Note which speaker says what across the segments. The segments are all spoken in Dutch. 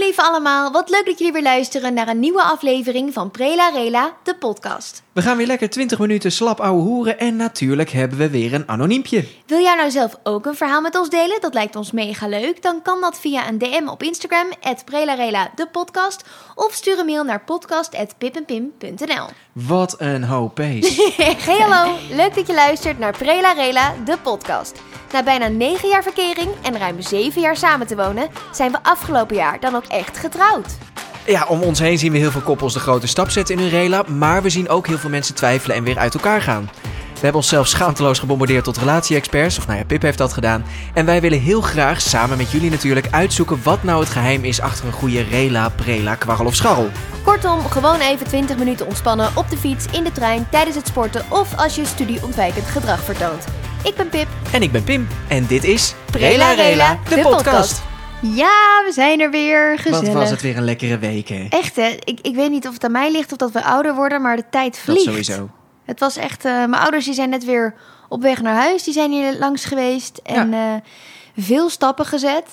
Speaker 1: lieve allemaal. Wat leuk dat jullie weer luisteren naar een nieuwe aflevering van Prela Rela, de podcast.
Speaker 2: We gaan weer lekker 20 minuten slap ouwe hoeren en natuurlijk hebben we weer een anoniempje.
Speaker 1: Wil jij nou zelf ook een verhaal met ons delen? Dat lijkt ons mega leuk. Dan kan dat via een DM op Instagram, @prelarela de podcast. Of stuur een mail naar podcast.pippenpim.nl
Speaker 2: Wat een hoop pees.
Speaker 1: Hey hallo, leuk dat je luistert naar Prela Rela, de podcast. Na bijna 9 jaar verkering en ruim 7 jaar samen te wonen, zijn we afgelopen jaar dan ook echt getrouwd.
Speaker 2: Ja, om ons heen zien we heel veel koppels de grote stap zetten in hun rela, maar we zien ook heel veel mensen twijfelen en weer uit elkaar gaan. We hebben onszelf schaamteloos gebombardeerd tot relatie-experts, of nou ja, Pip heeft dat gedaan. En wij willen heel graag, samen met jullie natuurlijk, uitzoeken wat nou het geheim is achter een goede rela, prela, kwarrel of scharrel.
Speaker 1: Kortom, gewoon even 20 minuten ontspannen op de fiets, in de trein, tijdens het sporten of als je studieontwijkend gedrag vertoont. Ik ben Pip.
Speaker 2: En ik ben Pim, en dit is
Speaker 1: Prela Rela, de podcast. Ja, we zijn er weer. Gezellig.
Speaker 2: Wat was het weer een lekkere week, hè?
Speaker 1: Echt hè, ik, ik weet niet of het aan mij ligt of dat we ouder worden, maar de tijd
Speaker 2: Dat
Speaker 1: vliegt.
Speaker 2: sowieso.
Speaker 1: Het was echt, eh, mijn ouders die zijn net weer op weg naar huis. Die zijn hier langs geweest en eh, veel stappen gezet.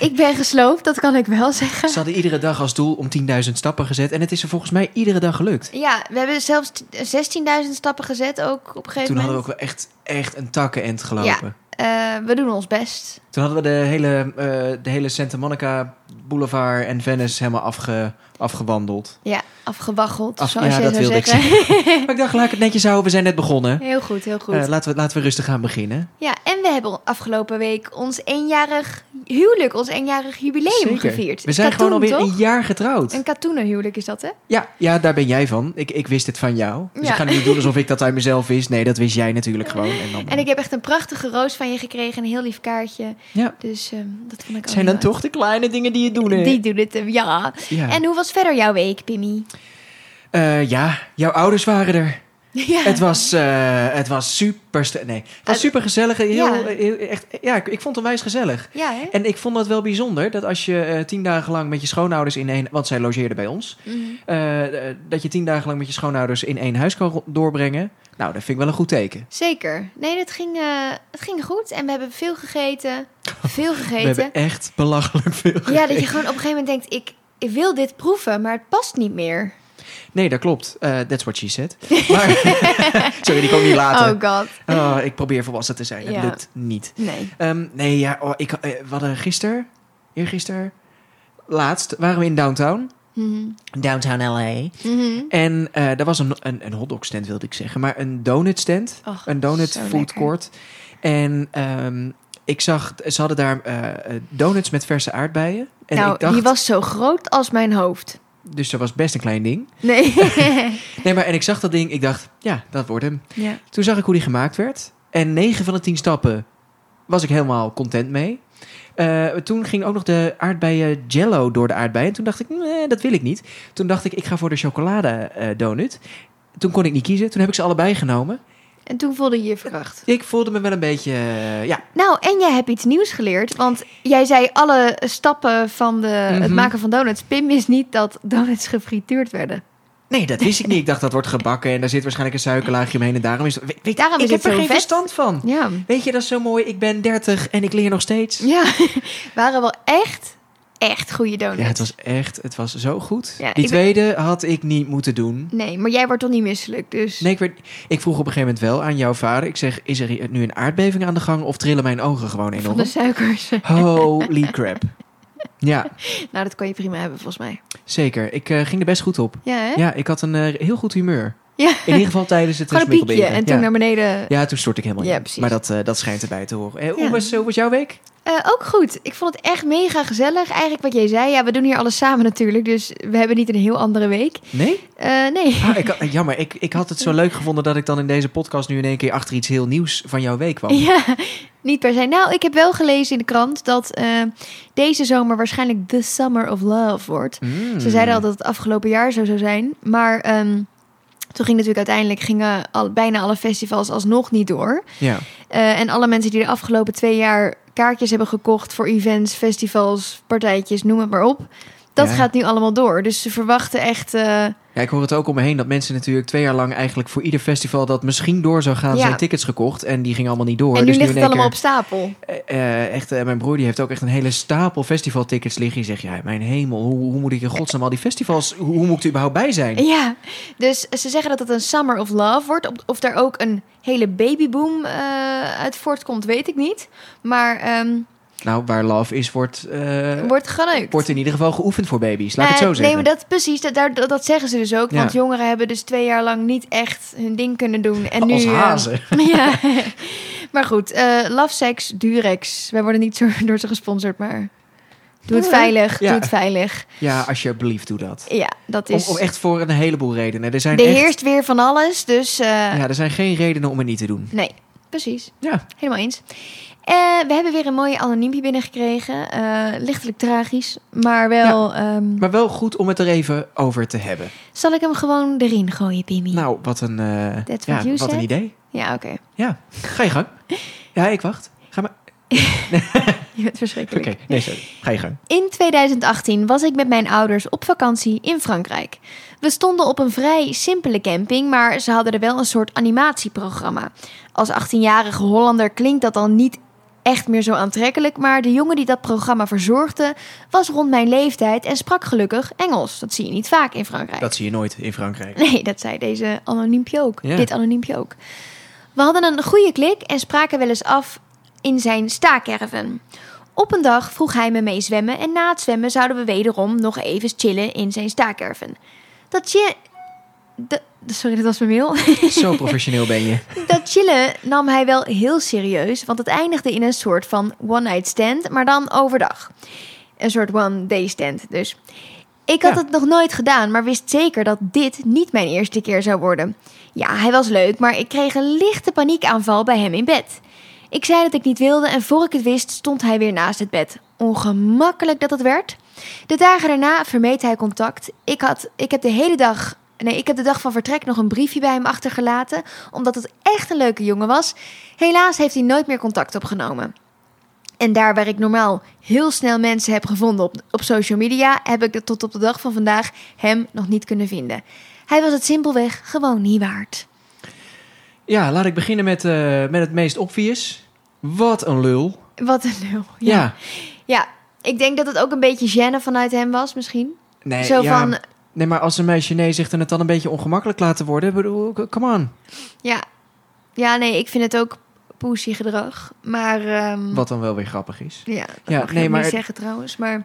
Speaker 1: ik ben gesloopt, dat kan ik wel zeggen.
Speaker 2: Ze hadden iedere dag als doel om 10.000 stappen gezet. En het is er volgens mij iedere dag gelukt.
Speaker 1: Ja, we hebben zelfs t- 16.000 stappen gezet ook op een gegeven
Speaker 2: Toen hadden we
Speaker 1: moment.
Speaker 2: ook wel echt, echt een takkenend gelopen.
Speaker 1: Eh, we doen ons best.
Speaker 2: Toen hadden we de hele, eh, de hele Santa Monica Boulevard en Venice helemaal afge, afgewandeld.
Speaker 1: Ja, afgewaggeld,
Speaker 2: Af-
Speaker 1: zoals
Speaker 2: ja,
Speaker 1: jij
Speaker 2: dat
Speaker 1: zou
Speaker 2: wilde ik
Speaker 1: zeggen.
Speaker 2: Maar ik dacht, laat ik het netjes houden. We zijn net begonnen.
Speaker 1: Heel goed, heel goed.
Speaker 2: Eh, laten, we, laten we rustig gaan beginnen.
Speaker 1: ja, en we hebben afgelopen week ons eenjarig huwelijk, ons eenjarig jubileum
Speaker 2: Zeker.
Speaker 1: gevierd.
Speaker 2: We zijn gewoon
Speaker 1: Katoen,
Speaker 2: alweer
Speaker 1: toch?
Speaker 2: een jaar getrouwd.
Speaker 1: Een katoenenhuwelijk is dat, hè?
Speaker 2: Ja, ja, daar ben jij van. Ik, ik wist het van jou. Dus
Speaker 1: Ja.
Speaker 2: ik ga nu niet doen alsof ik dat uit mezelf wist. Nee, dat wist jij natuurlijk gewoon. En dan,
Speaker 1: En ik heb echt een prachtige roos van je gekregen, een heel lief kaartje.
Speaker 2: Ja.
Speaker 1: Dus ehm, dat vond ik
Speaker 2: Het
Speaker 1: ook
Speaker 2: zijn dan
Speaker 1: heel
Speaker 2: toch de kleine dingen die je doen.
Speaker 1: leuk.
Speaker 2: hè?
Speaker 1: Die doen het, hem, ja.
Speaker 2: Ja.
Speaker 1: En hoe was verder jouw week, Pimmy?
Speaker 2: Eh, ja, jouw ouders waren er.
Speaker 1: ja.
Speaker 2: Het was, eh, het was super... st- Nee, het was
Speaker 1: Eh,
Speaker 2: super gezellig. Heel,
Speaker 1: ja.
Speaker 2: eh, heel- echt, ja, ik, ik vond het onwijs gezellig.
Speaker 1: Ja, hè?
Speaker 2: En ik vond dat wel bijzonder, dat als je eh, tien dagen lang met je schoonouders in één... Want zij logeerden bij ons.
Speaker 1: Mhm.
Speaker 2: eh, eh, dat je tien dagen lang met je schoonouders in één huis kan ro- doorbrengen. Nou, dat vind ik wel een goed teken.
Speaker 1: Zeker. Nee, dat ging, eh, het ging goed. En we hebben veel gegeten. Veel
Speaker 2: We
Speaker 1: gegeten.
Speaker 2: hebben echt belachelijk veel
Speaker 1: Ja, dat je
Speaker 2: gegeten.
Speaker 1: gewoon op een gegeven moment denkt, ik, ik wil dit proeven, maar het past niet meer.
Speaker 2: Nee, dat klopt. Eh, that's what she said. Maar, sorry, die kwam niet later.
Speaker 1: Oh god.
Speaker 2: Oh, ik probeer volwassen te zijn. Het
Speaker 1: Ja.
Speaker 2: lukt niet.
Speaker 1: Nee.
Speaker 2: Ehm, nee, ja, oh, ik, eh, we hadden gisteren, eergisteren, laatst waren we in downtown.
Speaker 1: Mhm.
Speaker 2: Downtown L.A.
Speaker 1: Mhm.
Speaker 2: En eh daar was een, een, een hotdog stand, wilde ik zeggen. Maar een donut stand.
Speaker 1: Och,
Speaker 2: een donut
Speaker 1: zo
Speaker 2: food
Speaker 1: lekker.
Speaker 2: court. En ehm, ik zag, ze hadden daar eh, eh, donuts met verse aardbeien. En
Speaker 1: nou,
Speaker 2: ik dacht,
Speaker 1: die was zo groot als mijn hoofd.
Speaker 2: dus dat was best een klein ding.
Speaker 1: Nee.
Speaker 2: Nee, maar en ik zag dat ding, ik dacht, ja, dat wordt hem.
Speaker 1: ja.
Speaker 2: Toen zag ik hoe die gemaakt werd. En 9 van de 10 stappen was ik helemaal content mee. Eh, toen ging ook nog de aardbeien jello door de aardbeien. Toen dacht ik, nee, dat wil ik niet. Toen dacht ik, ik ga voor de chocolade eh, donut. Toen kon ik niet kiezen. Toen heb ik ze allebei genomen.
Speaker 1: En toen voelde je je verkracht.
Speaker 2: Ik voelde me wel een beetje, eh, ja,
Speaker 1: Nou, en jij hebt iets nieuws geleerd. Want jij zei alle stappen van de, het
Speaker 2: Mhm.
Speaker 1: maken van donuts. Pim wist niet dat donuts gefrituurd werden.
Speaker 2: nee, dat wist ik niet. Ik dacht, dat wordt gebakken en daar zit waarschijnlijk een suikerlaagje omheen. En daarom is, het- weet, weet-
Speaker 1: Daarom
Speaker 2: ik
Speaker 1: is
Speaker 2: heb
Speaker 1: het
Speaker 2: er
Speaker 1: zo
Speaker 2: geen
Speaker 1: vet.
Speaker 2: verstand van.
Speaker 1: Ja.
Speaker 2: Weet je, dat is zo mooi. Ik ben 30 en ik leer nog steeds.
Speaker 1: Ja, waren wel echt, echt goede donuts.
Speaker 2: Ja, het was echt, het was zo goed.
Speaker 1: Ja,
Speaker 2: Die
Speaker 1: ik ben-
Speaker 2: tweede had ik niet moeten doen.
Speaker 1: Nee, maar jij wordt toch niet misselijk, dus...
Speaker 2: Nee, ik, werd, ik vroeg op een gegeven moment wel aan jouw vader. Ik zeg, is er hier nu een aardbeving aan de gang of trillen mijn ogen gewoon
Speaker 1: Van
Speaker 2: enorm?
Speaker 1: de suikers.
Speaker 2: Holy crap. Ja,
Speaker 1: nou, dat kan je prima hebben, volgens mij.
Speaker 2: zeker. Ik eh, ging er best goed op.
Speaker 1: Ja, hè?
Speaker 2: Ja, ik had een eh, heel goed humeur.
Speaker 1: Ja.
Speaker 2: In ieder geval tijdens het eh,
Speaker 1: Gewoon een piekje
Speaker 2: smikkelberen.
Speaker 1: en toen
Speaker 2: ja.
Speaker 1: naar beneden.
Speaker 2: Ja, toen stort ik helemaal
Speaker 1: Ja,
Speaker 2: in.
Speaker 1: precies.
Speaker 2: Maar dat, eh, dat schijnt erbij te horen. Eh, hoe,
Speaker 1: Ja.
Speaker 2: was, hoe was jouw week?
Speaker 1: Eh, ook goed. Ik vond het echt mega gezellig. Eigenlijk wat jij zei. Ja, we doen hier alles samen natuurlijk. Dus we hebben niet een heel andere week.
Speaker 2: Nee?
Speaker 1: Eh, nee.
Speaker 2: Ah, ik, eh, jammer, ik, ik had het zo leuk gevonden dat ik dan in deze podcast nu in één keer achter iets heel nieuws van jouw week kwam.
Speaker 1: Ja, niet per se. Nou, ik heb wel gelezen in de krant dat eh, deze zomer waarschijnlijk The Summer of Love wordt.
Speaker 2: Mm.
Speaker 1: Ze zeiden al dat het afgelopen jaar zo zou zijn. Maar ehm, toen ging natuurlijk uiteindelijk gingen al, bijna alle festivals alsnog niet door.
Speaker 2: Ja.
Speaker 1: Eh, en alle mensen die de afgelopen twee jaar kaartjes hebben gekocht voor events, festivals, partijtjes, noem het maar op. Dat
Speaker 2: Ja.
Speaker 1: gaat nu allemaal door. Dus ze verwachten echt eh,
Speaker 2: Ja, ik hoor het ook om me heen dat mensen natuurlijk twee jaar lang eigenlijk voor ieder festival dat misschien door zou gaan,
Speaker 1: Ja.
Speaker 2: zijn tickets gekocht. En die gingen allemaal niet door.
Speaker 1: en nu
Speaker 2: Dus
Speaker 1: ligt het
Speaker 2: in één
Speaker 1: allemaal op
Speaker 2: keer-
Speaker 1: stapel.
Speaker 2: Eh, eh, echt, eh, mijn broer die heeft ook echt een hele stapel festivaltickets liggen. Die zegt, ja, mijn hemel, hoe, hoe moet ik in godsnaam al die festivals, hoe, hoe moet ik er überhaupt bij zijn?
Speaker 1: Ja, dus ze zeggen dat het een Summer of Love wordt. Op- Of daar ook een hele babyboom eh, uit voortkomt, weet ik niet. Maar ehm,
Speaker 2: Nou, waar love is, wordt, eh,
Speaker 1: wordt geneukt.
Speaker 2: wordt in ieder geval geoefend voor baby's. Laat ik
Speaker 1: Eh,
Speaker 2: het zo
Speaker 1: Nee,
Speaker 2: zeggen.
Speaker 1: maar dat precies. Dat, daar, dat dat zeggen ze dus ook.
Speaker 2: Ja.
Speaker 1: Want jongeren hebben dus twee jaar lang niet echt hun ding kunnen doen. En nu,
Speaker 2: Als
Speaker 1: eh,
Speaker 2: hazen.
Speaker 1: ja. maar goed, eh love, seks, durex. Wij worden niet zo, door ze gesponsord, maar... Doe het
Speaker 2: Ja.
Speaker 1: veilig,
Speaker 2: Ja.
Speaker 1: doe het veilig.
Speaker 2: Ja, alsjeblieft, doe dat.
Speaker 1: Ja, dat
Speaker 2: Om,
Speaker 1: is...
Speaker 2: om echt voor een heleboel redenen. Er zijn,
Speaker 1: er
Speaker 2: echt,
Speaker 1: heerst weer van alles, dus... eh,
Speaker 2: ja, er zijn geen redenen om het niet te doen.
Speaker 1: Nee, precies.
Speaker 2: Ja,
Speaker 1: Helemaal eens. Eh, we hebben weer een mooie anoniempje binnengekregen. Eh lichtelijk tragisch, maar wel... ehm,
Speaker 2: maar wel goed om het er even over te hebben.
Speaker 1: Zal ik hem gewoon erin gooien, Pimmy?
Speaker 2: Nou, wat een, eh,
Speaker 1: That's
Speaker 2: ja,
Speaker 1: what you
Speaker 2: wat een
Speaker 1: said.
Speaker 2: idee.
Speaker 1: Ja, oké.
Speaker 2: Ja, ga je gang. Ja, ik wacht. Ga maar.
Speaker 1: Je bent
Speaker 2: Oké,
Speaker 1: verschrikkelijk.
Speaker 2: nee, sorry. Ga je gang.
Speaker 1: In 2018 was ik met mijn ouders op vakantie in Frankrijk. We stonden op een vrij simpele camping, maar ze hadden er wel een soort animatieprogramma. Als 18-jarige Hollander klinkt dat al niet echt meer zo aantrekkelijk, maar de jongen die dat programma verzorgde was rond mijn leeftijd en sprak gelukkig Engels. Dat zie je niet vaak in Frankrijk.
Speaker 2: Dat zie je nooit in Frankrijk.
Speaker 1: Nee, dat zei deze anoniempje ook.
Speaker 2: Ja.
Speaker 1: Dit anoniempje ook. We hadden een goede klik en spraken wel eens af in zijn staakerven. Op een dag vroeg hij me mee zwemmen en na het zwemmen zouden we wederom nog even chillen in zijn staakerven. Dat je... dat- Sorry, dat was mijn mail.
Speaker 2: Zo professioneel ben je.
Speaker 1: Dat chillen nam hij wel heel serieus, want het eindigde in een soort van one-night stand, maar dan overdag. Een soort one-day stand dus. Ik had
Speaker 2: Ja.
Speaker 1: het nog nooit gedaan, maar wist zeker dat dit niet mijn eerste keer zou worden. Ja, hij was leuk, maar ik kreeg een lichte paniekaanval bij hem in bed. Ik zei dat ik niet wilde en voor ik het wist stond hij weer naast het bed. Ongemakkelijk dat het werd. De dagen daarna vermeed hij contact. Ik, had, ik heb de hele dag... Nee, ik heb de dag van vertrek nog een briefje bij hem achtergelaten... omdat het echt een leuke jongen was. Helaas heeft hij nooit meer contact opgenomen. En daar waar ik normaal heel snel mensen heb gevonden op, op social media, heb ik tot op de dag van vandaag hem nog niet kunnen vinden. Hij was het simpelweg gewoon niet waard.
Speaker 2: Ja, laat ik beginnen met, eh, met het meest obvious. Wat een lul.
Speaker 1: Wat een lul.
Speaker 2: Ja.
Speaker 1: Ja, ik denk dat het ook een beetje gêne vanuit hem was misschien.
Speaker 2: Nee,
Speaker 1: Zo
Speaker 2: Eh, ja.
Speaker 1: van,
Speaker 2: nee, maar als een meisje nee zegt en het dan een beetje ongemakkelijk laten worden. ik bedoel, c- come on.
Speaker 1: ja. Ja, nee, ik vind het ook poesie gedrag. Maar, ehm,
Speaker 2: Wat dan wel weer grappig is.
Speaker 1: Ja, dat
Speaker 2: Ja,
Speaker 1: mag
Speaker 2: nee,
Speaker 1: nee,
Speaker 2: maar-
Speaker 1: niet zeggen trouwens. Maar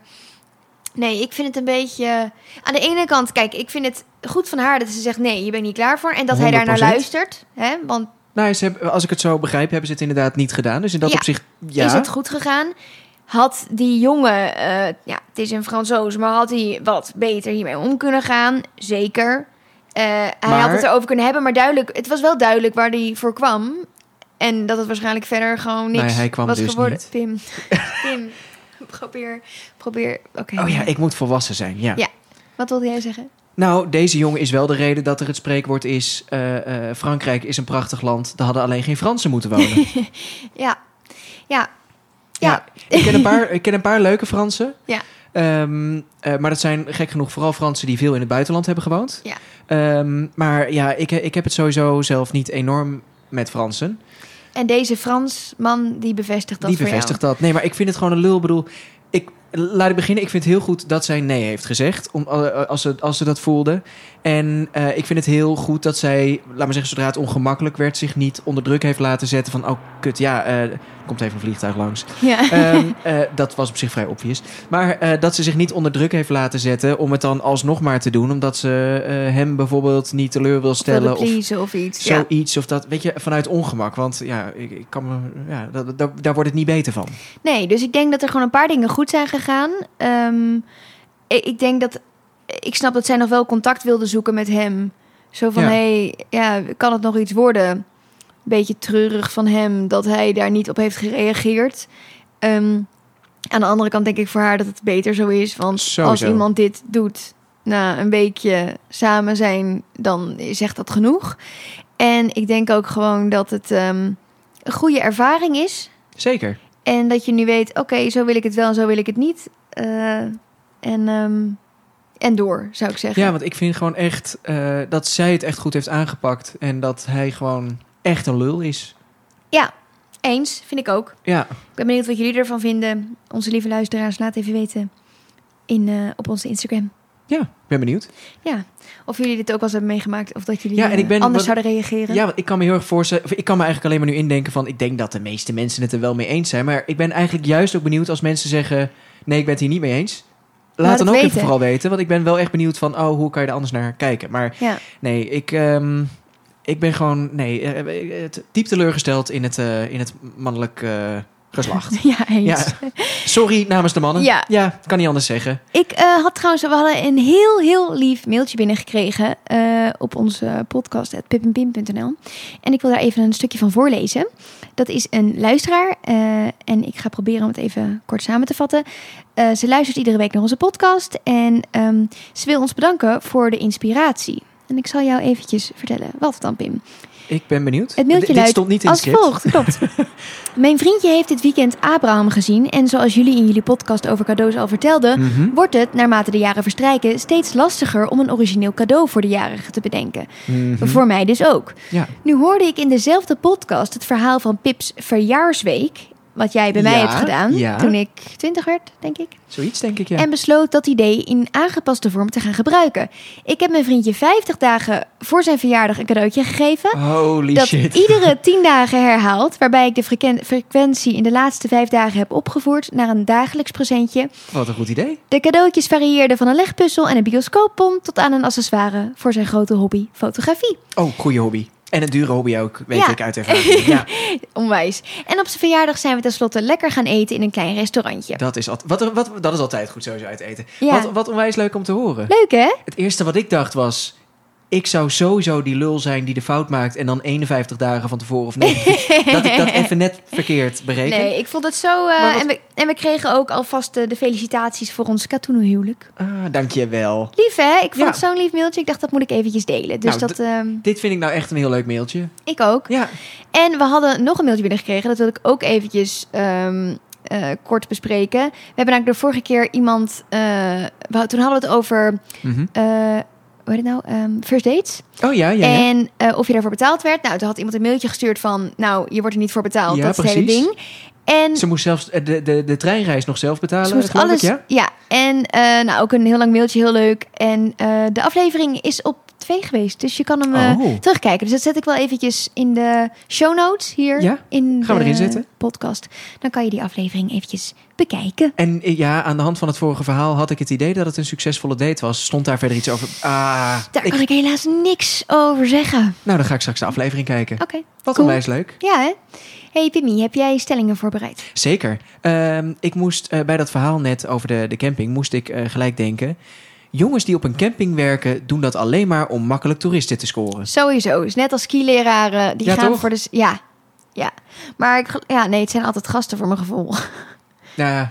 Speaker 1: nee, ik vind het een beetje... Aan de ene kant, kijk, ik vind het goed van haar dat ze zegt... nee, je bent niet klaar voor. En dat hij daarnaar
Speaker 2: 100%.
Speaker 1: luistert. Hè? Want
Speaker 2: Nou, ze hebben, als ik het zo begrijp, hebben ze het inderdaad niet gedaan. Dus in dat
Speaker 1: Ja.
Speaker 2: opzicht, ja.
Speaker 1: is het goed gegaan? Had die jongen, eh, ja, het is een Fransoos, maar had hij wat beter hiermee om kunnen gaan? Zeker. Eh, Hij
Speaker 2: Maar-
Speaker 1: had het erover kunnen hebben, maar duidelijk, het was wel duidelijk waar hij voor kwam. En dat het waarschijnlijk verder gewoon niks
Speaker 2: Nee, hij kwam
Speaker 1: was
Speaker 2: dus
Speaker 1: geworden.
Speaker 2: niet.
Speaker 1: Pim, Pim, probeer, probeer. Oké.
Speaker 2: Oh ja, ik moet volwassen zijn, ja.
Speaker 1: Ja. Wat wilde jij zeggen?
Speaker 2: Nou, deze jongen is wel de reden dat er het spreekwoord is... eh, eh, Frankrijk is een prachtig land, daar hadden alleen geen Fransen moeten wonen.
Speaker 1: Ja, ja,
Speaker 2: Ja,
Speaker 1: ja,
Speaker 2: ik, ken een paar, ik ken een paar leuke Fransen.
Speaker 1: Ja.
Speaker 2: Ehm, eh, maar dat zijn gek genoeg vooral Fransen die veel in het buitenland hebben gewoond.
Speaker 1: Ja.
Speaker 2: Ehm, maar ja, ik, ik heb het sowieso zelf niet enorm met Fransen.
Speaker 1: En deze Fransman die bevestigt dat
Speaker 2: die
Speaker 1: voor jou.
Speaker 2: bevestigt dat. Nee, maar ik vind het gewoon een lul. Ik bedoel, ik, laat ik beginnen. Ik vind het heel goed dat zij nee heeft gezegd. Om, eh, als, ze, als ze dat voelde. En eh, ik vind het heel goed dat zij, laat maar zeggen, zodra het ongemakkelijk werd, zich niet onder druk heeft laten zetten. Van, oh kut, ja, eh, er komt even een vliegtuig langs.
Speaker 1: Ja.
Speaker 2: Ehm, eh, dat was op zich vrij obvious. Maar eh, dat ze zich niet onder druk heeft laten zetten om het dan alsnog maar te doen. Omdat ze eh, hem bijvoorbeeld niet teleur wil stellen.
Speaker 1: Wilde
Speaker 2: Of eh,
Speaker 1: pleasen of iets. ja.
Speaker 2: zoiets of dat. Weet je, vanuit ongemak. Want ja, ik, ik kan me, ja dat, dat- daar wordt het niet beter van.
Speaker 1: Nee, dus ik denk dat er gewoon een paar dingen goed zijn gegaan. Ehm, ik, ik denk dat... Ik snap dat zij nog wel contact wilde zoeken met hem. Zo van,
Speaker 2: Ja.
Speaker 1: hey, ja, kan het nog iets worden? Beetje treurig van hem dat hij daar niet op heeft gereageerd. Ehm, aan de andere kant denk ik voor haar dat het beter zo is. Want als
Speaker 2: Sowieso.
Speaker 1: iemand dit doet na een weekje samen zijn, dan zegt dat genoeg. En ik denk ook gewoon dat het ehm, een goede ervaring is.
Speaker 2: Zeker.
Speaker 1: En dat je nu weet, oké, zo wil ik het wel en zo wil ik het niet. Eh, en ehm, en door, zou ik zeggen.
Speaker 2: Ja, want ik vind gewoon echt eh, dat zij het echt goed heeft aangepakt. En dat hij gewoon echt een lul is.
Speaker 1: Eens, vind ik ook.
Speaker 2: Ja,
Speaker 1: Ik ben benieuwd wat jullie ervan vinden. Onze lieve luisteraars, laat even weten in, eh, op onze Instagram.
Speaker 2: ja ik ben benieuwd.
Speaker 1: Ja, of jullie dit ook wel eens hebben meegemaakt. Of dat jullie
Speaker 2: Ja, en ik
Speaker 1: eh,
Speaker 2: ben-
Speaker 1: anders
Speaker 2: wat-
Speaker 1: zouden reageren.
Speaker 2: Ja, want ik kan me heel erg voorstellen. of Ik kan me eigenlijk alleen maar nu indenken van. Ik denk dat de meeste mensen het er wel mee eens zijn. Maar ik ben eigenlijk juist ook benieuwd als mensen zeggen. Nee, ik ben het hier niet mee eens. Laat,
Speaker 1: Laat
Speaker 2: dan
Speaker 1: het
Speaker 2: ook even
Speaker 1: weten.
Speaker 2: vooral weten. Want ik ben wel echt benieuwd van. Oh, hoe kan je er anders naar kijken? Maar
Speaker 1: Ja.
Speaker 2: nee, ik. ehm, ik ben gewoon. Nee, eh, eh, het- diep teleurgesteld in het, eh, in het mannelijk eh, geslacht.
Speaker 1: Ja, eens.
Speaker 2: Ja. Sorry namens de mannen.
Speaker 1: Ja.
Speaker 2: kan niet anders zeggen.
Speaker 1: Ik eh, had trouwens, we hadden een heel, heel lief mailtje binnengekregen eh, op onze podcast, pippinpim.nl. En ik wil daar even een stukje van voorlezen. Dat is een luisteraar eh, en ik ga proberen om het even kort samen te vatten. Eh, ze luistert iedere week naar onze podcast en ehm, ze wil ons bedanken voor de inspiratie. En ik zal jou eventjes vertellen wat dan, Pim.
Speaker 2: Ik ben benieuwd.
Speaker 1: Het mailtje
Speaker 2: D- dit
Speaker 1: luidt
Speaker 2: stond niet in het
Speaker 1: Als
Speaker 2: script.
Speaker 1: volgt, klopt. Mijn vriendje heeft dit weekend Abraham gezien. En zoals jullie in jullie podcast over cadeaus al vertelden,
Speaker 2: Mhm.
Speaker 1: wordt het, naarmate de jaren verstrijken, steeds lastiger om een origineel cadeau voor de jarige te bedenken.
Speaker 2: Mhm.
Speaker 1: Voor mij dus ook.
Speaker 2: Ja.
Speaker 1: Nu hoorde ik in dezelfde podcast het verhaal van Pips verjaarsweek, wat jij bij mij
Speaker 2: Ja,
Speaker 1: hebt gedaan
Speaker 2: ja.
Speaker 1: toen ik twintig werd, denk ik.
Speaker 2: Zoiets denk ik, ja.
Speaker 1: En besloot dat idee in aangepaste vorm te gaan gebruiken. Ik heb mijn vriendje 50 dagen voor zijn verjaardag een cadeautje gegeven
Speaker 2: Holy
Speaker 1: dat
Speaker 2: shit.
Speaker 1: iedere tien dagen herhaalt, waarbij ik de frequen- frequentie in de laatste vijf dagen heb opgevoerd naar een dagelijks presentje.
Speaker 2: Wat een goed idee.
Speaker 1: De cadeautjes varieerden van een legpuzzel en een bioscooppom tot aan een accessoire voor zijn grote hobby, fotografie.
Speaker 2: Oh, goede hobby. En een dure hobby ook, weet
Speaker 1: Ja.
Speaker 2: ik uit ervaring. Ja,
Speaker 1: Onwijs. En op zijn verjaardag zijn we tenslotte lekker gaan eten in een klein restaurantje.
Speaker 2: dat, is al, wat, wat, dat is altijd goed sowieso uit eten.
Speaker 1: Ja.
Speaker 2: Wat, wat onwijs leuk om te horen.
Speaker 1: Leuk hè?
Speaker 2: Het eerste wat ik dacht was... Ik zou sowieso die lul zijn die de fout maakt... en dan 51 dagen van tevoren of nee. dat ik dat even net verkeerd bereken.
Speaker 1: Nee, ik vond het zo. eh,
Speaker 2: Maar wat-
Speaker 1: en, we, en we kregen ook alvast eh, de felicitaties voor ons katoenhuwelijk.
Speaker 2: Ah, dankjewel.
Speaker 1: Lief hè? Ik vond
Speaker 2: Ja.
Speaker 1: het zo'n lief mailtje. Ik dacht dat moet ik eventjes delen. Dus
Speaker 2: Nou,
Speaker 1: dat. ehm,
Speaker 2: Dit vind ik nou echt een heel leuk mailtje.
Speaker 1: ik ook.
Speaker 2: Ja,
Speaker 1: En we hadden nog een mailtje binnengekregen. Dat wil ik ook eventjes ehm, eh, kort bespreken. We hebben namelijk de vorige keer iemand... eh, we, toen hadden we het over...
Speaker 2: Mhm.
Speaker 1: eh, hoe heet het nou? Ehm, first dates.
Speaker 2: Oh ja, ja, ja.
Speaker 1: En eh, of je daarvoor betaald werd. Nou, toen had iemand een mailtje gestuurd van... Nou, je wordt er niet voor betaald.
Speaker 2: Ja,
Speaker 1: dat is het hele
Speaker 2: precies.
Speaker 1: ding. En
Speaker 2: Ze moest zelfs eh, de, de, de treinreis nog zelf betalen,
Speaker 1: ze moest
Speaker 2: eh, geloof
Speaker 1: alles...
Speaker 2: ik, ja?
Speaker 1: en eh, nou, ook een heel lang mailtje. Heel leuk. En eh, de aflevering is op twee geweest. Dus je kan hem eh,
Speaker 2: Oh.
Speaker 1: terugkijken. Dus dat zet ik wel eventjes in de show notes hier.
Speaker 2: Ja,
Speaker 1: In
Speaker 2: gaan we
Speaker 1: de
Speaker 2: erin zetten.
Speaker 1: podcast. Dan kan je die aflevering eventjes bekijken.
Speaker 2: En eh, ja, aan de hand van het vorige verhaal had ik het idee dat het een succesvolle date was. Stond daar verder iets over? Ah,
Speaker 1: Daar
Speaker 2: ik-
Speaker 1: kan ik helaas niks over zeggen.
Speaker 2: nou dan ga ik straks de aflevering kijken.
Speaker 1: Oké,
Speaker 2: Wat
Speaker 1: cool.
Speaker 2: onwijs leuk.
Speaker 1: ja hè? Hey Pimmy, heb jij stellingen voorbereid?
Speaker 2: Zeker. Ehm, ik moest eh, bij dat verhaal net over de, de camping, moest ik eh, gelijk denken. Jongens die op een camping werken, doen dat alleen maar om makkelijk toeristen te scoren.
Speaker 1: Sowieso, is net als skileraren. Die
Speaker 2: Ja,
Speaker 1: gaan
Speaker 2: toch?
Speaker 1: voor de... s- Ja, ja. Maar ik, gel- ja, nee, het zijn altijd gasten voor mijn gevoel.
Speaker 2: Nou,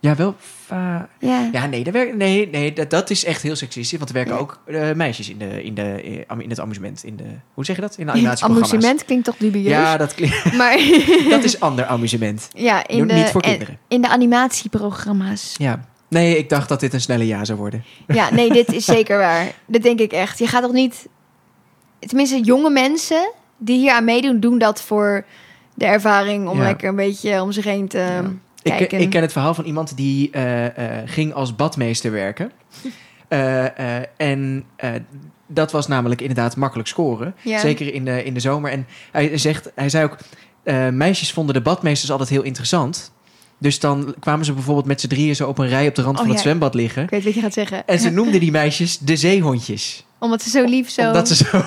Speaker 2: ja, wel. va-
Speaker 1: Ja,
Speaker 2: ja, nou, nee, daar werken, nee, nee dat, dat is echt heel seksistisch. Want er werken
Speaker 1: Ja.
Speaker 2: ook eh, meisjes in, de, in, de, eh, in het amusement. In de, hoe zeg je dat? In de animatieprogramma's.
Speaker 1: amusement klinkt toch dubieus.
Speaker 2: Ja, dat, klinkt-
Speaker 1: Maar
Speaker 2: dat is ander amusement.
Speaker 1: ja, in
Speaker 2: Niet
Speaker 1: de,
Speaker 2: voor
Speaker 1: en-
Speaker 2: kinderen.
Speaker 1: in de animatieprogramma's.
Speaker 2: Ja. Nee, ik dacht dat dit een snelle ja zou worden.
Speaker 1: Ja, nee, dit is zeker waar. Dat denk ik echt. Je gaat toch niet... Tenminste, jonge mensen die hier aan meedoen, doen dat voor de ervaring om
Speaker 2: Ja.
Speaker 1: lekker een beetje om zich heen te
Speaker 2: Ik,
Speaker 1: kijken.
Speaker 2: ik ken het verhaal van iemand die eh, eh, ging als badmeester werken. Eh, eh, en eh, dat was namelijk inderdaad makkelijk scoren.
Speaker 1: Ja.
Speaker 2: Zeker in de, in de zomer. En hij, zegt, hij zei ook, eh, meisjes vonden de badmeesters altijd heel interessant. Dus dan kwamen ze bijvoorbeeld met z'n drieën zo op een rij op de rand
Speaker 1: Oh,
Speaker 2: van het
Speaker 1: ja.
Speaker 2: zwembad liggen.
Speaker 1: Ik weet wat je gaat zeggen.
Speaker 2: En ze noemden die meisjes de zeehondjes.
Speaker 1: Omdat ze zo lief zo...
Speaker 2: Omdat ze zo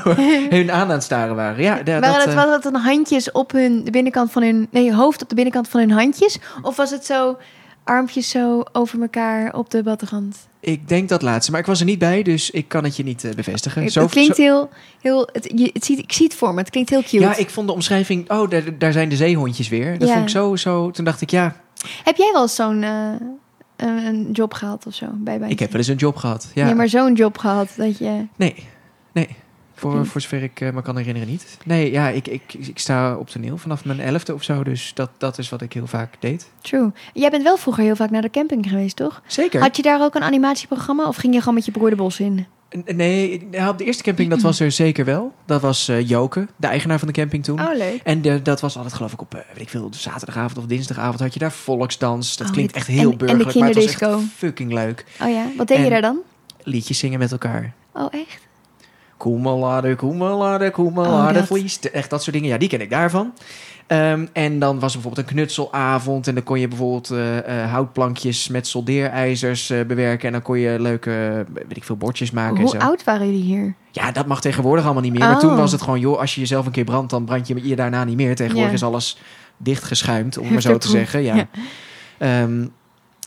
Speaker 2: hun aan aan het staren waren. Ja, da-
Speaker 1: Waren
Speaker 2: dat,
Speaker 1: het,
Speaker 2: eh,
Speaker 1: was het dan handjes op hun de binnenkant van hun... Nee, hoofd op de binnenkant van hun handjes? Of was het zo armpjes zo over elkaar op de badrand?
Speaker 2: ik denk dat laatste. Maar ik was er niet bij, dus ik kan het je niet eh, bevestigen.
Speaker 1: Het,
Speaker 2: Zo-
Speaker 1: het klinkt heel... heel het, je, het ziet, ik zie het voor me. Het klinkt heel cute.
Speaker 2: Ja, ik vond de omschrijving, oh, daar, daar zijn de zeehondjes weer. Dat
Speaker 1: Ja.
Speaker 2: vond ik zo, zo. Toen dacht ik, ja,
Speaker 1: Heb jij wel eens zo'n eh, een, een job gehad of zo? Bij
Speaker 2: ik heb wel eens een job gehad. Ja.
Speaker 1: Ja. maar zo'n job gehad dat je...
Speaker 2: Nee, nee.
Speaker 1: Hm.
Speaker 2: Voor, voor zover ik eh, me kan herinneren niet. Nee, ja, ik, ik, ik sta op toneel vanaf mijn elfde of zo. Dus dat, dat is wat ik heel vaak deed.
Speaker 1: True. Jij bent wel vroeger heel vaak naar de camping geweest, toch?
Speaker 2: Zeker.
Speaker 1: Had je daar ook een animatieprogramma of ging je gewoon met je broer de bos in?
Speaker 2: N- Nee, nou, op de eerste camping, dat was er zeker wel. Dat was eh Joke, de eigenaar van de camping toen.
Speaker 1: Oh, leuk.
Speaker 2: En de- dat was altijd, geloof ik, op eh, weet ik veel, zaterdagavond of dinsdagavond had je daar volksdans. Dat
Speaker 1: Oh,
Speaker 2: klinkt
Speaker 1: dit-
Speaker 2: echt heel
Speaker 1: en- en de
Speaker 2: burgerlijk, maar het was echt
Speaker 1: kinderdisco.
Speaker 2: fucking leuk.
Speaker 1: Oh ja, wat deed je
Speaker 2: En-
Speaker 1: daar dan?
Speaker 2: Liedjes zingen met elkaar.
Speaker 1: Oh, echt?
Speaker 2: Koemelade, koemelade,
Speaker 1: Oh,
Speaker 2: koemelade,
Speaker 1: dat.
Speaker 2: vlies. Echt dat soort dingen. Ja, die ken ik daarvan. Ehm, en dan was er bijvoorbeeld een knutselavond. En dan kon je bijvoorbeeld eh, eh, houtplankjes met soldeerijzers eh, bewerken. En dan kon je leuke, eh, weet ik veel, bordjes maken en zo.
Speaker 1: Hoe oud waren jullie hier?
Speaker 2: Ja, dat mag tegenwoordig allemaal niet meer. Maar
Speaker 1: Oh.
Speaker 2: toen was het gewoon, joh, als je jezelf een keer brandt, dan brand je je daarna niet meer. Tegenwoordig
Speaker 1: Ja.
Speaker 2: is alles dichtgeschuimd, om het maar zo te
Speaker 1: Hefteproef.
Speaker 2: zeggen. Ja.
Speaker 1: Ja.
Speaker 2: Ehm,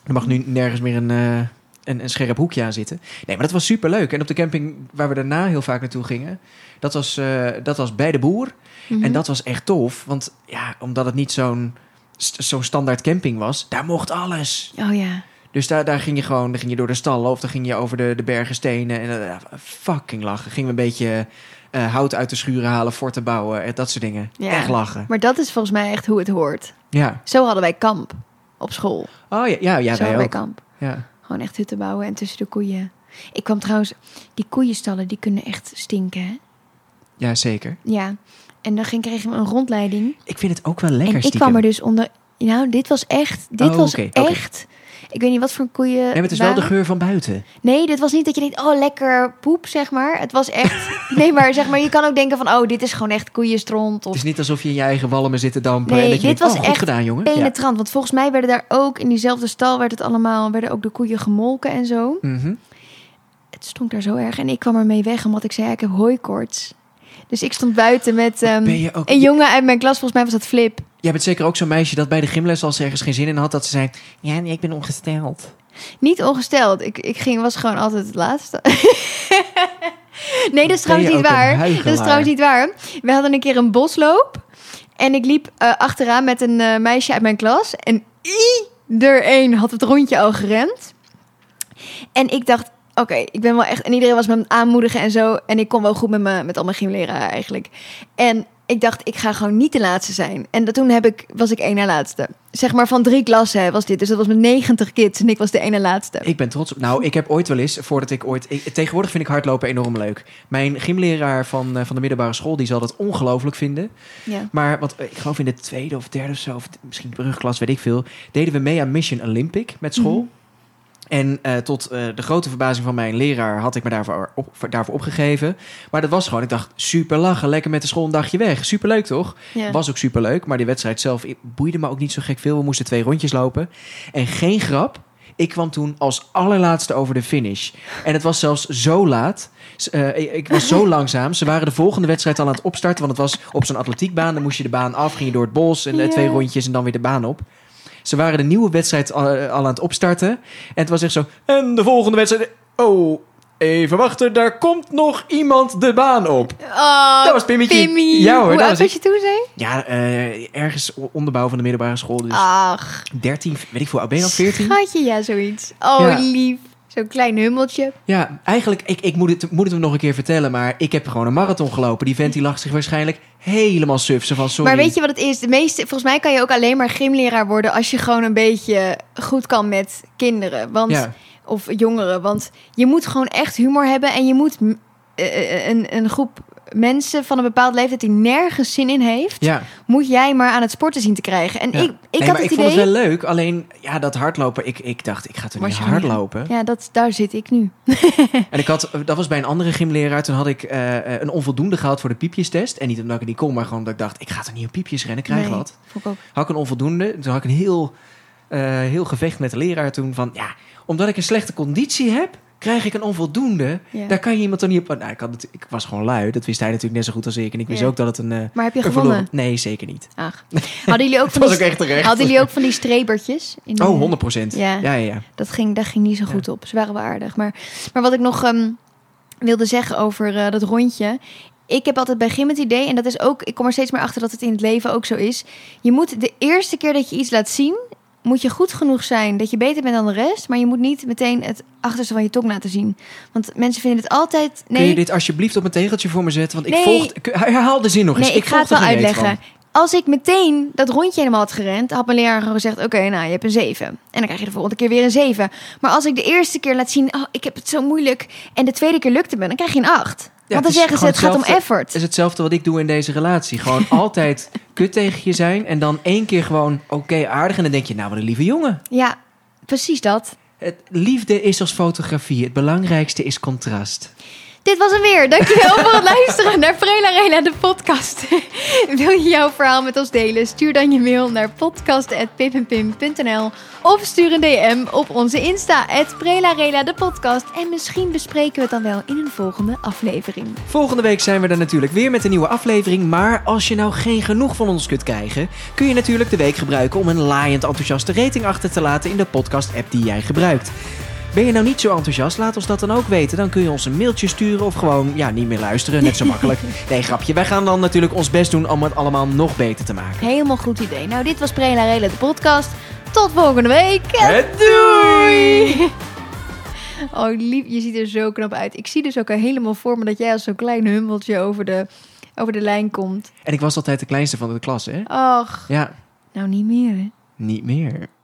Speaker 2: er mag nu nergens meer een, eh, een, een scherp hoekje aan zitten. Nee, maar dat was super leuk. En op de camping waar we daarna heel vaak naartoe gingen, dat was, eh, dat was bij de boer.
Speaker 1: Mhm.
Speaker 2: En dat was echt tof, want ja, omdat het niet zo'n st- zo'n standaard camping was, daar mocht alles.
Speaker 1: Oh ja.
Speaker 2: Dus daar, daar ging je gewoon daar ging je door de stallen of dan ging je over de, de bergen stenen. En eh, fucking lachen. Gingen we een beetje eh, hout uit de schuren halen, forten bouwen, eh, dat soort dingen.
Speaker 1: Ja.
Speaker 2: Echt lachen.
Speaker 1: Maar dat is volgens mij echt hoe het hoort.
Speaker 2: Ja.
Speaker 1: Zo hadden wij kamp op school.
Speaker 2: Oh ja, ja, ja
Speaker 1: Zo
Speaker 2: wij
Speaker 1: hadden wij
Speaker 2: ook.
Speaker 1: kamp.
Speaker 2: Ja.
Speaker 1: Gewoon echt hutten bouwen en tussen de koeien. Ik kwam trouwens... Die koeienstallen, die kunnen echt stinken, hè?
Speaker 2: ja, zeker.
Speaker 1: Ja. En dan ging, kregen we een rondleiding.
Speaker 2: Ik vind het ook wel lekker
Speaker 1: en ik
Speaker 2: stiekem.
Speaker 1: kwam er dus onder... Nou, dit was echt... Dit
Speaker 2: Oh,
Speaker 1: was
Speaker 2: oké, oké.
Speaker 1: echt... Ik weet niet wat voor koeien...
Speaker 2: Nee, maar het is wel
Speaker 1: waren.
Speaker 2: de geur van buiten.
Speaker 1: Nee, dit was niet dat je denkt, oh, lekker poep, zeg maar. Het was echt... nee, maar zeg maar, je kan ook denken van, oh, dit is gewoon echt koeienstront.
Speaker 2: Het
Speaker 1: Of
Speaker 2: is niet alsof je in je eigen wallen maar zit te dampen.
Speaker 1: Nee,
Speaker 2: en dat je
Speaker 1: dit was
Speaker 2: denkt,
Speaker 1: echt
Speaker 2: oh, goed gedaan, jongen. Ja.
Speaker 1: penetrant. Want volgens mij werden daar ook, in diezelfde stal werd het allemaal, werden ook de koeien gemolken en zo.
Speaker 2: Mhm.
Speaker 1: Het stonk daar zo erg. En ik kwam ermee weg, omdat ik zei, ja, ik heb hooikoorts. Dus ik stond buiten met ehm,
Speaker 2: Ben je ook-
Speaker 1: een jongen uit mijn klas. Volgens mij was dat Flip.
Speaker 2: Jij bent zeker ook zo'n meisje dat bij de gymles als ze ergens geen zin in had, dat ze zei, ja, nee, ik ben ongesteld.
Speaker 1: Niet ongesteld. Ik, ik ging, was gewoon altijd het laatste. nee, dat is
Speaker 2: Ben je
Speaker 1: trouwens niet
Speaker 2: ook een
Speaker 1: waar. Dat
Speaker 2: huichelaar?
Speaker 1: is trouwens niet waar. We hadden een keer een bosloop. En ik liep eh, achteraan met een eh, meisje uit mijn klas. En iedereen had het rondje al gerend. En ik dacht, oké, ik ben wel echt... En iedereen was me aan het aanmoedigen en zo. En ik kon wel goed met, me, met al mijn gymleraren eigenlijk. En ik dacht, ik ga gewoon niet de laatste zijn. En dat, toen heb ik, was ik één na laatste. Zeg maar van drie klassen hè, was dit. Dus dat was met 90 kids en ik was de één na laatste.
Speaker 2: Ik ben trots op. Nou, ik heb ooit wel eens, voordat ik ooit. Ik, tegenwoordig vind ik hardlopen enorm leuk. Mijn gymleraar van, eh, van de middelbare school, die zal dat ongelooflijk vinden.
Speaker 1: Ja.
Speaker 2: Maar wat, eh, ik geloof in de tweede of derde of zo, of misschien brugklas, weet ik veel, deden we mee aan Mission Olympic met school. En eh, tot eh, de grote verbazing van mijn leraar had ik me daarvoor, op, voor- daarvoor opgegeven. Maar dat was gewoon, ik dacht, super lachen, lekker met de school een dagje weg. Superleuk toch?
Speaker 1: ja.
Speaker 2: Was ook superleuk, maar die wedstrijd zelf boeide me ook niet zo gek veel. We moesten twee rondjes lopen. En geen grap, ik kwam toen als allerlaatste over de finish. En het was zelfs zo laat. S- eh, ik- ik was zo langzaam. Ze waren de volgende wedstrijd al aan het opstarten, want het was op zo'n atletiekbaan. Dan moest je de baan af, ging je door het bos en eh,
Speaker 1: Ja.
Speaker 2: twee rondjes en dan weer de baan op. Ze waren de nieuwe wedstrijd al, eh, al aan het opstarten. En het was echt zo. En de volgende wedstrijd. Oh, even wachten. Daar komt nog iemand de baan op.
Speaker 1: Oh,
Speaker 2: Dat was Pimmietje.
Speaker 1: Pimmy.
Speaker 2: Ja hoor,
Speaker 1: Hoe
Speaker 2: dat
Speaker 1: oud
Speaker 2: was
Speaker 1: was je toen, zei?
Speaker 2: Ja, eh, ergens o- onderbouw van de middelbare school.
Speaker 1: Ah.
Speaker 2: Dus
Speaker 1: Ach,
Speaker 2: 13, weet ik veel, oud ben je al 14?
Speaker 1: schatje, ja, zoiets. Oh,
Speaker 2: Ja.
Speaker 1: lief. Zo'n klein hummeltje.
Speaker 2: Ja, eigenlijk, ik, ik moet, het, moet het hem nog een keer vertellen, maar ik heb gewoon een marathon gelopen. Die vent die lag zich waarschijnlijk helemaal suf. Ze van, sorry.
Speaker 1: Maar weet je wat het is? De meeste, volgens mij kan je ook alleen maar gymleraar worden als je gewoon een beetje goed kan met kinderen. Want,
Speaker 2: Ja.
Speaker 1: Of jongeren. Want je moet gewoon echt humor hebben en je moet mm, eh, eh, een, een groep mensen van een bepaald leeftijd die nergens zin in heeft,
Speaker 2: Ja,
Speaker 1: moet jij maar aan het sporten zien te krijgen. En
Speaker 2: ja.
Speaker 1: ik, ik
Speaker 2: Nee,
Speaker 1: had
Speaker 2: maar
Speaker 1: het
Speaker 2: ik
Speaker 1: idee.
Speaker 2: vond het wel leuk, alleen ja, dat hardlopen, ik, ik dacht, ik ga toch
Speaker 1: Was
Speaker 2: niet
Speaker 1: je gewoon niet-
Speaker 2: hardlopen.
Speaker 1: Ja, dat, daar zit ik nu.
Speaker 2: En ik had, dat was bij een andere gymleraar. Toen had ik eh, eh, een onvoldoende gehaald voor de piepjestest. En niet omdat ik het niet kon, maar gewoon dat ik dacht... ik ga toch niet op piepjes rennen, krijg
Speaker 1: Nee,
Speaker 2: wat.
Speaker 1: Vond ik ook.
Speaker 2: Had ik een onvoldoende. Toen had ik een heel, eh, heel gevecht met de leraar toen van... ja, omdat ik een slechte conditie heb, krijg ik een onvoldoende.
Speaker 1: Ja.
Speaker 2: Daar kan je iemand toch niet op... Nou, ik, had het, ik was gewoon lui. Dat wist hij natuurlijk net zo goed als ik. En ik wist
Speaker 1: Ja.
Speaker 2: ook dat het een... eh,
Speaker 1: Maar heb je
Speaker 2: een
Speaker 1: gewonnen?
Speaker 2: verloren- Nee, zeker niet.
Speaker 1: Ach. Hadden jullie ook van
Speaker 2: was
Speaker 1: die,
Speaker 2: ook echt terecht.
Speaker 1: Hadden jullie ook van die strebertjes? In de-
Speaker 2: Oh, 100 procent.
Speaker 1: Ja.
Speaker 2: Ja, ja, ja.
Speaker 1: Dat ging, dat ging niet zo goed op. Ze waren wel aardig. Maar, maar wat ik nog ehm, wilde zeggen over eh, dat rondje. Ik heb altijd bij gym het idee, en dat is ook, ik kom er steeds meer achter dat het in het leven ook zo is. Je moet de eerste keer dat je iets laat zien, moet je goed genoeg zijn dat je beter bent dan de rest. Maar je moet niet meteen het achterste van je tong laten zien. Want mensen vinden het altijd. Nee,
Speaker 2: Kun je dit alsjeblieft op een tegeltje voor me zetten? Want
Speaker 1: Nee.
Speaker 2: ik volg... Kun- Herhaal de zin nog eens.
Speaker 1: nee ik ga het
Speaker 2: Oh, volg er
Speaker 1: wel
Speaker 2: geen reet van.
Speaker 1: uitleggen. Als ik meteen dat rondje helemaal had gerend, had mijn leraar gewoon gezegd: Oké, nou je hebt een 7. En dan krijg je de volgende keer weer een 7. Maar als ik de eerste keer laat zien: Oh, ik heb het zo moeilijk. En de tweede keer lukte me, dan krijg je een 8. Want
Speaker 2: het
Speaker 1: dan
Speaker 2: is
Speaker 1: zeggen ze:
Speaker 2: gewoon
Speaker 1: Het gaat om
Speaker 2: hetzelfde-
Speaker 1: effort.
Speaker 2: Het is hetzelfde wat ik doe in deze relatie. Gewoon altijd kut tegen je zijn. En dan één keer gewoon oké aardig. En dan denk je, nou wat een lieve jongen.
Speaker 1: Ja, precies dat.
Speaker 2: Het, liefde is als fotografie. Het belangrijkste is contrast.
Speaker 1: Dit was hem weer. Dankjewel voor het luisteren naar Frela Rela, de podcast. Wil je jouw verhaal met ons delen? Stuur dan je mail naar podcast.pippenpim.nl of stuur een DM op onze Insta, Frela Rela, de podcast. En misschien bespreken we het dan wel in een volgende aflevering.
Speaker 2: Volgende week zijn we er natuurlijk weer met een nieuwe aflevering. Maar als je nou geen genoeg van ons kunt krijgen... kun je natuurlijk de week gebruiken om een laaiend enthousiaste rating achter te laten... in de podcast-app die jij gebruikt. Ben je nou niet zo enthousiast? Laat ons dat dan ook weten. Dan kun je ons een mailtje sturen of gewoon ja, niet meer luisteren. Net zo makkelijk. Nee, grapje. Wij gaan dan natuurlijk ons best doen om het allemaal nog beter te maken.
Speaker 1: Helemaal goed idee. Nou, dit was Frela Rela, de podcast. Tot volgende week.
Speaker 2: doei!
Speaker 1: Oh, lief, je ziet er zo knap uit. Ik zie dus ook al helemaal voor me dat jij als zo'n klein hummeltje over de, over de lijn komt.
Speaker 2: En ik was altijd de kleinste van de klas, hè?
Speaker 1: Och,
Speaker 2: Ja,
Speaker 1: nou niet meer hè.
Speaker 2: niet meer.